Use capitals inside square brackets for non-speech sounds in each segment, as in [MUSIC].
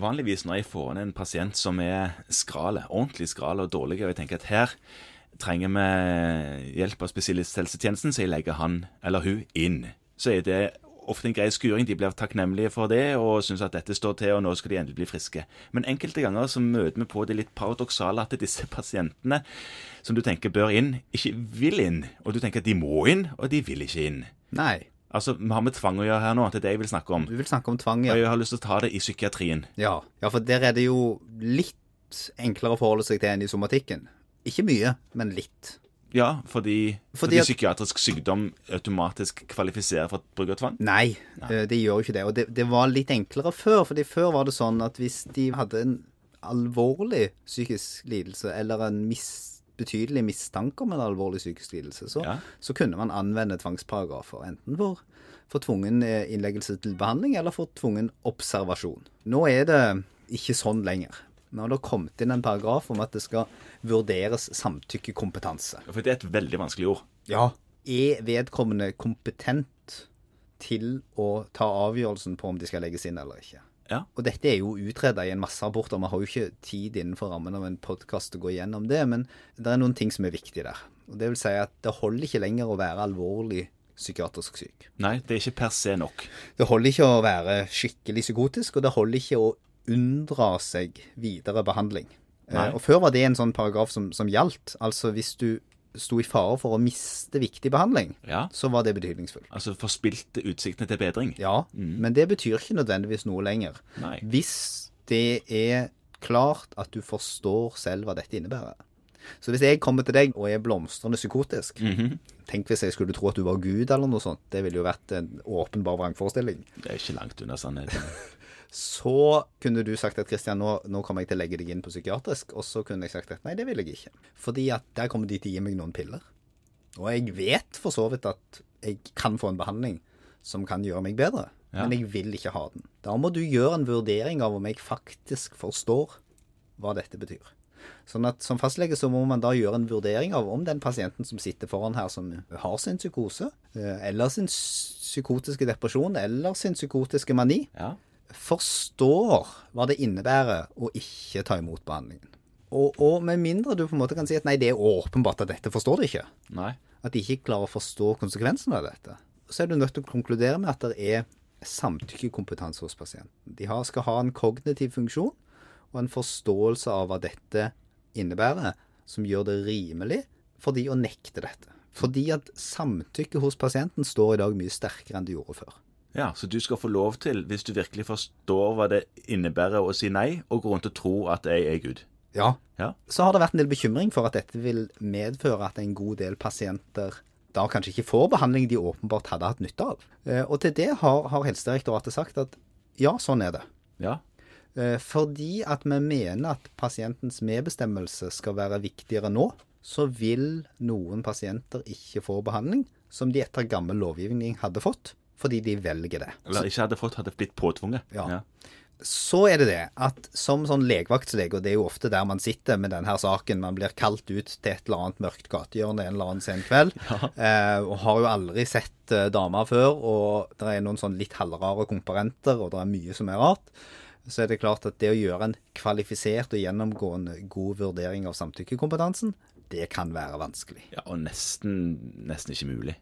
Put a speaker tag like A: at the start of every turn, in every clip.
A: Vanligvis når jeg får inn en pasient som er skrale, ordentlig skrale og dårlig, og jeg tenker at her trenger vi hjelp av spesialisthelsetjenesten, så jeg legger han eller hun inn. Så er det ofte en grei skuring. De blir takknemlige for det og syns at dette står til, og nå skal de endelig bli friske. Men enkelte ganger så møter vi på det litt paradoksale at disse pasientene som du tenker bør inn, ikke vil inn. Og du tenker at de må inn, og de vil ikke inn.
B: Nei.
A: Altså, Vi har med tvang å gjøre her nå. Det er det jeg vil snakke om.
B: Du vil snakke om tvang,
A: Og
B: ja.
A: jeg har lyst til å ta det i psykiatrien.
B: ja. Ja, for der er det jo litt enklere å forholde seg til enn i somatikken. Ikke mye, men litt.
A: Ja, fordi, fordi,
B: Fordi at-
A: psykiatrisk sykdom automatisk kvalifiserer for bruk av tvang.
B: Nei, eh, de gjør jo ikke det. Og det, det var litt enklere før, fordi før var det sånn at hvis de hadde en alvorlig psykisk lidelse, eller en mis, betydelig mistanke om en alvorlig psykisk lidelse, så,
A: Ja.
B: så kunne man anvende tvangsparagrafer, enten for, for tvungen eh, innleggelse til behandling, eller for tvungen observasjon. Nå er det ikke sånn lenger. Nå har det kommet inn en paragraf om at det skal vurderes samtykkekompetanse.
A: For det er et veldig vanskelig ord.
B: Ja. Er vedkommende kompetent til å ta avgjørelsen på om de skal legges inn eller ikke?
A: Ja.
B: Og dette er jo utreda i en masse rapporter, vi har jo ikke tid innenfor rammen av en podkast å gå gjennom det, men det er noen ting som er viktig der. Og Det vil si at det holder ikke lenger å være alvorlig psykiatrisk syk.
A: Nei, det er ikke per se nok.
B: Det holder ikke å være skikkelig psykotisk, og det holder ikke å unndra seg videre behandling. Eh,
A: Nei.
B: Og Før var det en sånn paragraf som, som gjaldt. Altså hvis du sto i fare for å miste viktig behandling,
A: Ja.
B: så var det betydningsfullt.
A: Altså forspilte utsiktene til bedring.
B: Ja, men det betyr ikke nødvendigvis noe lenger.
A: Nei.
B: Hvis det er klart at du forstår selv hva dette innebærer. Så hvis jeg kommer til deg og er blomstrende psykotisk, tenk hvis jeg skulle tro at du var Gud eller noe sånt, det ville jo vært en åpenbar vrangforestilling.
A: Det er ikke langt unna sannheten.
B: Så kunne du sagt at Kristian, nå, nå kommer jeg til å legge deg inn på psykiatrisk, og så kunne jeg sagt at nei, det vil jeg ikke. Fordi at der kommer de til å gi meg noen piller. Og jeg vet for så vidt at jeg kan få en behandling som kan gjøre meg bedre,
A: Ja.
B: men jeg vil ikke ha den. Da må du gjøre en vurdering av om jeg faktisk forstår hva dette betyr. Sånn at Som fastlege så må man da gjøre en vurdering av om den pasienten som sitter foran her, som har sin psykose, eh, eller sin s- psykotiske depresjon, eller sin psykotiske mani,
A: [LAUGHS] Ja.
B: forstår hva det innebærer å ikke ta imot behandlingen. Og, og med mindre du på en måte kan si at nei, det er åpenbart at dette forstår du ikke,
A: Nei.
B: at de ikke klarer å forstå konsekvensen av dette, så er du nødt til å konkludere med at det er samtykkekompetanse hos pasienten. De har, skal ha en kognitiv funksjon og en forståelse av hva dette innebærer, som gjør det rimelig for de å nekte dette. Fordi at samtykke hos pasienten står i dag mye sterkere enn det gjorde før.
A: Ja, Så du skal få lov til, hvis du virkelig forstår hva det innebærer å si nei, og gå rundt og tro at jeg er Gud.
B: Ja,
A: Ja.
B: så har det vært en del bekymring for at dette vil medføre at en god del pasienter da kanskje ikke får behandling de åpenbart hadde hatt nytte av. Eh, Og til det har, har Helsedirektoratet sagt at ja, sånn er det.
A: Ja.
B: Eh, Fordi at vi mener at pasientens medbestemmelse skal være viktigere nå, så vil noen pasienter ikke få behandling som de etter gammel lovgivning hadde fått, fordi de velger det.
A: Eller ikke hadde fått, hadde blitt påtvunget.
B: Ja. Så er det det at som sånn legevaktslege, og det er jo ofte der man sitter med denne saken, man blir kalt ut til et eller annet mørkt gatehjørne en eller annen sen kveld, eh, og har jo aldri sett eh, damer før, og det er noen sånn litt halvrare komparenter, og det er mye som er rart, så er det klart at det å gjøre en kvalifisert og gjennomgående god vurdering av samtykkekompetansen, det kan være vanskelig.
A: ja og nesten, nesten ikke mulig.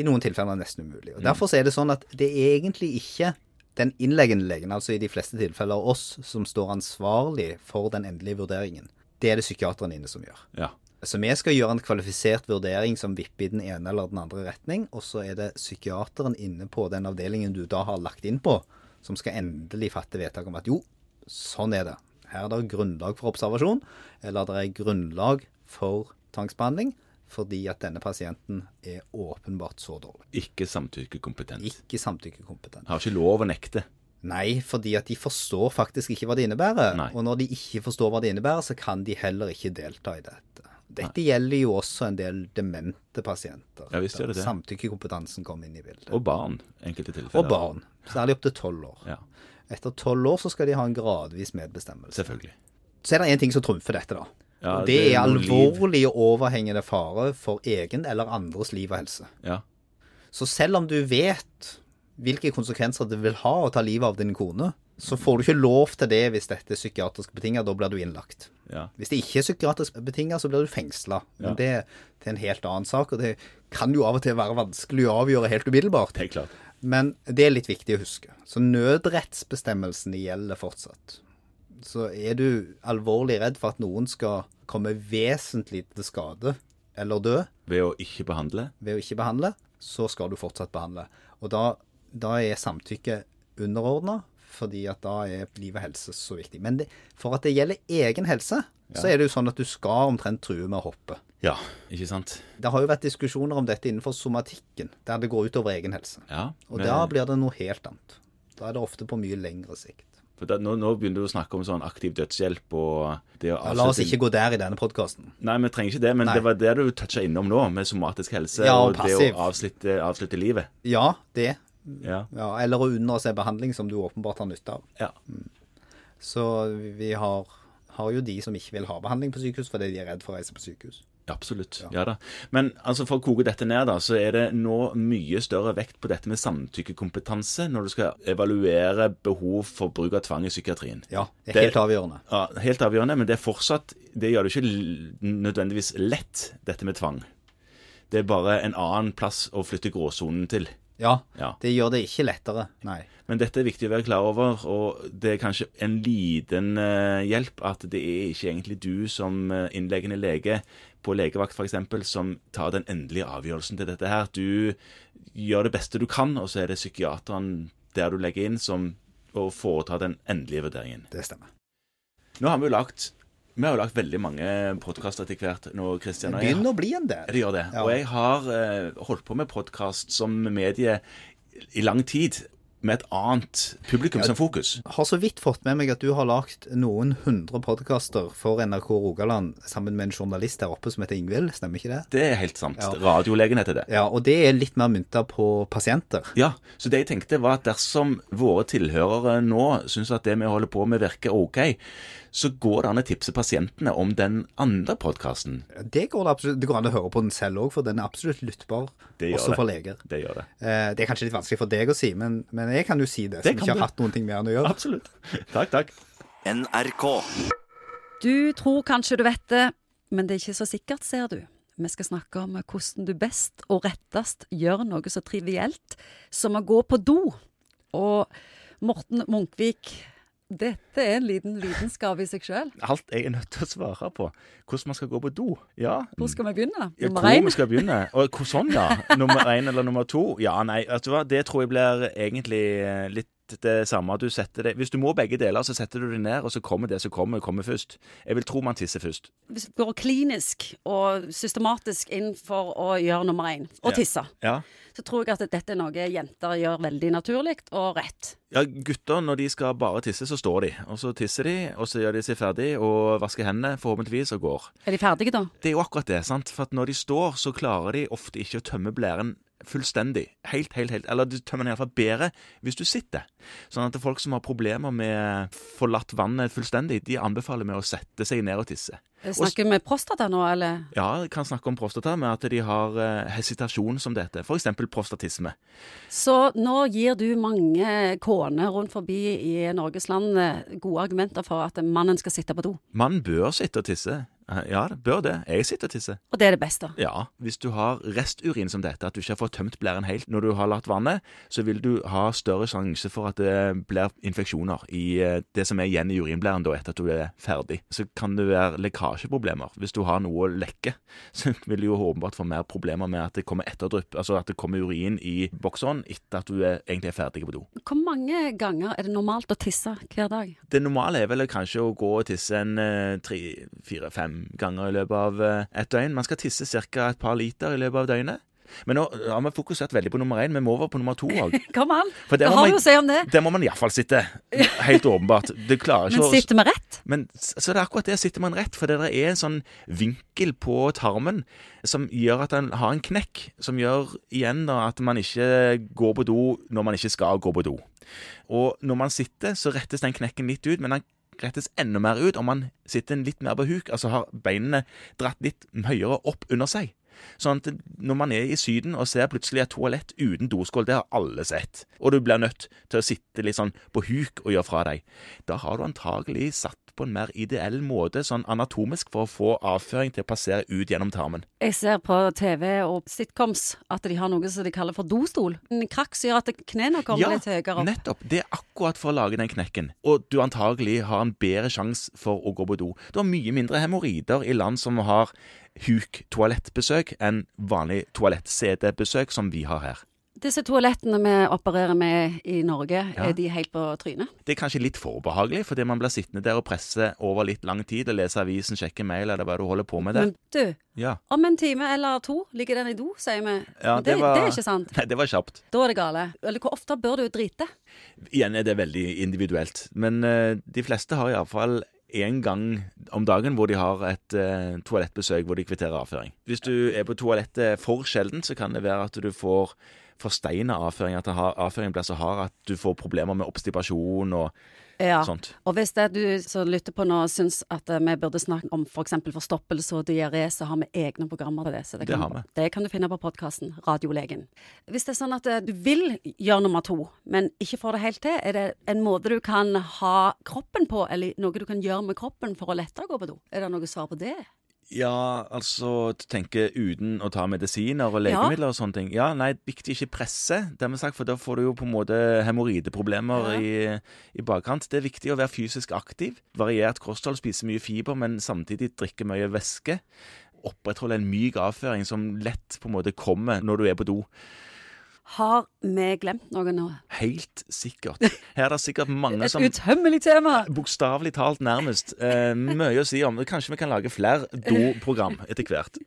B: I noen tilfeller nesten umulig. Og Derfor så er det sånn at det er egentlig ikke den innleggende legen, altså i de fleste tilfeller oss, som står ansvarlig for den endelige vurderingen. Det er det psykiateren inne som gjør.
A: Ja.
B: Så vi skal gjøre en kvalifisert vurdering som vipper i den ene eller den andre retning, og så er det psykiateren inne på den avdelingen du da har lagt inn på, som skal endelig fatte vedtak om at jo, sånn er det. Her er det grunnlag for observasjon, eller det er grunnlag for tvangsbehandling, fordi at denne pasienten er åpenbart så dårlig.
A: Ikke samtykkekompetent.
B: Ikke samtykkekompetent.
A: Har ikke lov å nekte.
B: Nei, fordi at de forstår faktisk ikke hva det innebærer.
A: Nei.
B: Og når de ikke forstår hva det innebærer, så kan de heller ikke delta i dette. Dette gjelder jo også en del demente pasienter.
A: Ja, visst gjør det
B: der
A: det.
B: Samtykkekompetansen kom inn i bildet.
A: Og barn, enkelte tilfeller.
B: Og barn. Særlig opptil tolv år.
A: Ja,
B: Etter tolv år så skal de ha en gradvis medbestemmelse.
A: selvfølgelig.
B: Så er det én ting som trumfer dette, da.
A: Ja,
B: og det,
A: det er
B: er
A: noe liv.
B: alvorlig og overhengende fare for egen eller andres liv og helse.
A: Ja.
B: Så selv om du vet hvilke konsekvenser det vil ha å ta livet av din kone, så får du ikke lov til det hvis dette er psykiatrisk betinget. Da blir du innlagt.
A: Ja.
B: Hvis det ikke er psykiatrisk betinget, så blir du fengsla. Men
A: Ja.
B: det, det er en helt annen sak, og det kan jo av og til være vanskelig å avgjøre helt umiddelbart.
A: Helt klart.
B: Men det er litt viktig å huske. Så nødrettsbestemmelsene gjelder fortsatt. Så er du alvorlig redd for at noen skal komme vesentlig til skade eller dø
A: Ved å ikke behandle.
B: ved å ikke behandle, så skal du fortsatt behandle. Og da, da er samtykke underordna, fordi at da er liv og helse så viktig. Men det, for at det gjelder egen helse, så er det jo sånn at du skal omtrent true med å hoppe.
A: Ja, ikke sant?
B: Det har jo vært diskusjoner om dette innenfor somatikken, der det går utover egen helse.
A: Ja.
B: Og
A: men-
B: da blir det noe helt annet. Da er det ofte på mye lengre sikt.
A: for da, nå, nå begynner du å snakke om sånn aktiv dødshjelp og det å
B: Ja, la oss
A: avslutte-
B: ikke gå der i denne podkasten.
A: Nei, vi trenger ikke det, men
B: Nei.
A: det var det du toucha innom nå, med somatisk helse
B: Ja, og
A: og, det
B: passiv.
A: å avslutte, avslutte livet.
B: Ja, det.
A: Ja.
B: Ja, eller å unne seg behandling som du åpenbart har nytte av.
A: ja.
B: Så vi har, har jo de som ikke vil ha behandling på sykehus fordi de er redd for å reise på sykehus.
A: Absolutt. Ja. da. Men altså, for å koke dette ned, da, så er det nå mye større vekt på dette med samtykkekompetanse når du skal evaluere behov for bruk av tvang i psykiatrien.
B: Ja, det er
A: Det-
B: helt avgjørende.
A: Ja, helt avgjørende, men det er fortsatt Det gjør det ikke l- nødvendigvis lett, dette med tvang. Det er bare en annen plass å flytte gråsonen til.
B: Ja,
A: Ja.
B: det gjør det ikke lettere. Nei.
A: Men dette er viktig å være klar over, og det er kanskje en liten eh, hjelp at det er ikke egentlig du som eh, innleggende lege på legevakt f.eks. som tar den endelige avgjørelsen til dette her. Du gjør det beste du kan, og så er det psykiateren der du legger inn, som å foreta den endelige vurderingen.
B: Det stemmer.
A: Nå har vi jo lagt, vi har jo lagt veldig mange podkaster etter hvert nå, Kristian.
B: Det
A: og jeg
B: begynner å bli en
A: ja,
B: del.
A: Det gjør det.
B: Ja.
A: Og jeg har eh, holdt på med podkast som medie i lang tid, med et annet publikum som fokus.
B: Har så vidt fått med meg at du har lagd noen hundre podkaster for NRK Rogaland sammen med en journalist der oppe som heter Ingvild, stemmer ikke det?
A: Det er helt sant.
B: Ja.
A: Radiolegen heter det.
B: Ja, og det er litt mer mynta på pasienter.
A: Ja, så det jeg tenkte var at dersom våre tilhørere nå syns at det vi holder på med virker ok, så går det an å tipse pasientene om den andre podkasten.
B: Det går, det absolutt, det går an å høre på den selv òg, for den er absolutt lyttbar,
A: Det gjør
B: også
A: det.
B: for leger.
A: Det gjør det.
B: Eh, Det er kanskje litt vanskelig for deg å si, men, men jeg kan jo si det,
A: Det
B: som
A: kan
B: ikke
A: du.
B: har hatt noen ting med den å gjøre.
A: [LAUGHS] Absolutt. Takk, takk.
C: NRK.
D: Du tror kanskje du vet det, men det er ikke så sikkert, ser du. Vi skal snakke om hvordan du best og rettest gjør noe så trivielt som å gå på do. Og Morten Munkvik, dette er en liten lidenskap i seg sjøl.
A: Alt jeg er nødt til å svare på. Hvordan man skal gå på do. Ja.
D: Hvor skal vi begynne?
A: Ja,
D: Nummer
A: hvor
D: én?
A: vi skal begynne? Og hvor, sånn, ja. Nummer én eller nummer to? Ja, nei, vet du hva? det tror jeg blir egentlig eh, litt det samme. Du setter det. Hvis du må begge deler, så setter du det ned, og så kommer det som kommer, kommer først. Jeg vil tro man tisser først.
D: Hvis du går klinisk og systematisk inn for å gjøre nummer én, og
A: Ja.
D: tisse,
A: Ja.
D: så tror jeg at dette er noe jenter gjør veldig naturlig og rett.
A: ja, gutter, når de skal bare tisse, så står de. Og så tisser de, og så gjør de seg ferdig og vasker hendene, forhåpentligvis, og går.
D: Er de ferdige, da?
A: Det er jo akkurat det, sant. For at når de står, så klarer de ofte ikke å tømme blæren fullstendig. Helt, helt, helt. Eller du tømmer den iallfall bedre hvis du sitter. Sånn at folk som har problemer med forlatt vannet fullstendig, de anbefaler med å sette seg ned og tisse.
D: Snakker vi prostata nå, eller?
A: Ja, jeg kan snakke om prostata med at de har eh, hesitasjon som det heter. F.eks. prostatisme.
D: Så nå gir du mange kåner rundt forbi i Norges land eh, gode argumenter for at mannen skal sitte på do.
A: Man bør sitte og tisse. Eh, Ja, det bør det. Jeg sitter og tisser.
D: Og det er det beste.
A: Ja, hvis du har resturin som dette, at du ikke har fått tømt blæren helt når du har latt vannet, så vil du ha større sjanse for at det blir infeksjoner i eh, det som er igjen i urinblæren da etter at du er ferdig. Så kan det være lekkasjeproblemer. Hvis du har noe å lekke, [LAUGHS] så vil du jo åpenbart få mer problemer med at det kommer etterdrypp, altså at det kommer urin i bokseren etter at du er, egentlig er ferdig på do.
D: Hvor mange ganger er det normalt å tisse hver dag?
A: Det normale er vel kanskje å gå og tisse en eh, tre, fire, fem ganger i løpet av eh, et døgn. Man skal tisse ca. et par liter i løpet av døgnet. Men nå har vi fokusert veldig på nummer én, men vi må over på nummer to òg.
D: Kom an, [LAUGHS]
A: For der
D: hva
A: må
D: har
A: man-
D: du å si om det?
A: Der må man iallfall
D: [LAUGHS]
A: sitte. Helt åpenbart. Det klarer
D: Men
A: ikke å
D: sitter vi rett?
A: men, så så det er akkurat det sitter man rett, for det der er en sånn vinkel på tarmen som gjør at den har en knekk, som gjør igjen da at man ikke går på do når man ikke skal gå på do. Og når man sitter, så rettes den knekken litt ut, men den rettes enda mer ut om man sitter litt mer på huk, altså har beinene dratt litt høyere opp under seg. Sånn at når man er i Syden og ser plutselig et toalett uten doskål, det har alle sett, og du blir nødt til å sitte litt sånn på huk og gjøre fra deg, da har du antagelig satt på en mer ideell måte, sånn anatomisk, for å få avføring til å passere ut gjennom tarmen.
D: Jeg ser på TV og sitcoms at de har noe som de kaller for dostol. En krakk som gjør at knærne kommer litt høyere opp.
A: nettopp. Det er akkurat for å lage den knekken. Og du antagelig har en bedre sjanse for å gå på do. Du har mye mindre hemoroider i land som har huk-toalettbesøk enn vanlig toalett-CD-besøk som vi har her.
D: Disse toalettene vi opererer med i Norge, er de helt på trynet?
A: Det er kanskje litt for ubehagelig, fordi man blir sittende der og presse over litt lang tid og lese avisen, sjekke mail eller hva du holder på med der.
D: Men du,
A: Ja, [LAUGHS]
D: om en time eller to ligger den i do, sier vi.
A: ja
D: Men det, det er ikke sant.
A: Nei, det var kjapt.
D: Da er det gale. Eller hvor ofte bør du drite?
A: Igjen er det veldig individuelt, men eh, de fleste har iallfall én gang om dagen hvor de har et eh, toalettbesøk hvor de kvitterer avføring. Hvis du er på toalettet for sjelden, så kan det være at du får forsteina avføring, at det har- avføringen blir så hard at du får problemer med obstipasjon og
D: Ja.
A: sånt.
D: Og hvis det er du som lytter på nå syns at eh, vi burde snakke om f.eks. For forstoppelse og diaré, så har vi egne programmer til det. Så det,
A: Det
D: kan,
A: har vi.
D: det kan du finne på podkasten Radiolegen. Hvis det er sånn at eh, du vil gjøre nummer to, men ikke får det helt til, er det en måte du kan ha kroppen på, eller noe du kan gjøre med kroppen for å lettere gå på do? Er det noe svar på det?
A: Ja, altså tenke uten å ta medisiner og
D: Ja.
A: legemidler og sånne ting. Ja, nei, viktig ikke presse, det har vi sagt, for da får du jo på en måte hemoroideproblemer i, i bakkant. Det er viktig å være fysisk aktiv, variert kosthold, spise mye fiber, men samtidig drikke mye væske. Opprettholde en myk avføring som lett på en måte kommer når du er på do.
D: Har vi glemt noe nå?
A: Helt sikkert. Her er det sikkert mange
D: Et
A: som
D: utømmelig tema!
A: Bokstavelig talt, nærmest. Eh, mye å si om. Kanskje vi kan lage flere doprogram etter hvert.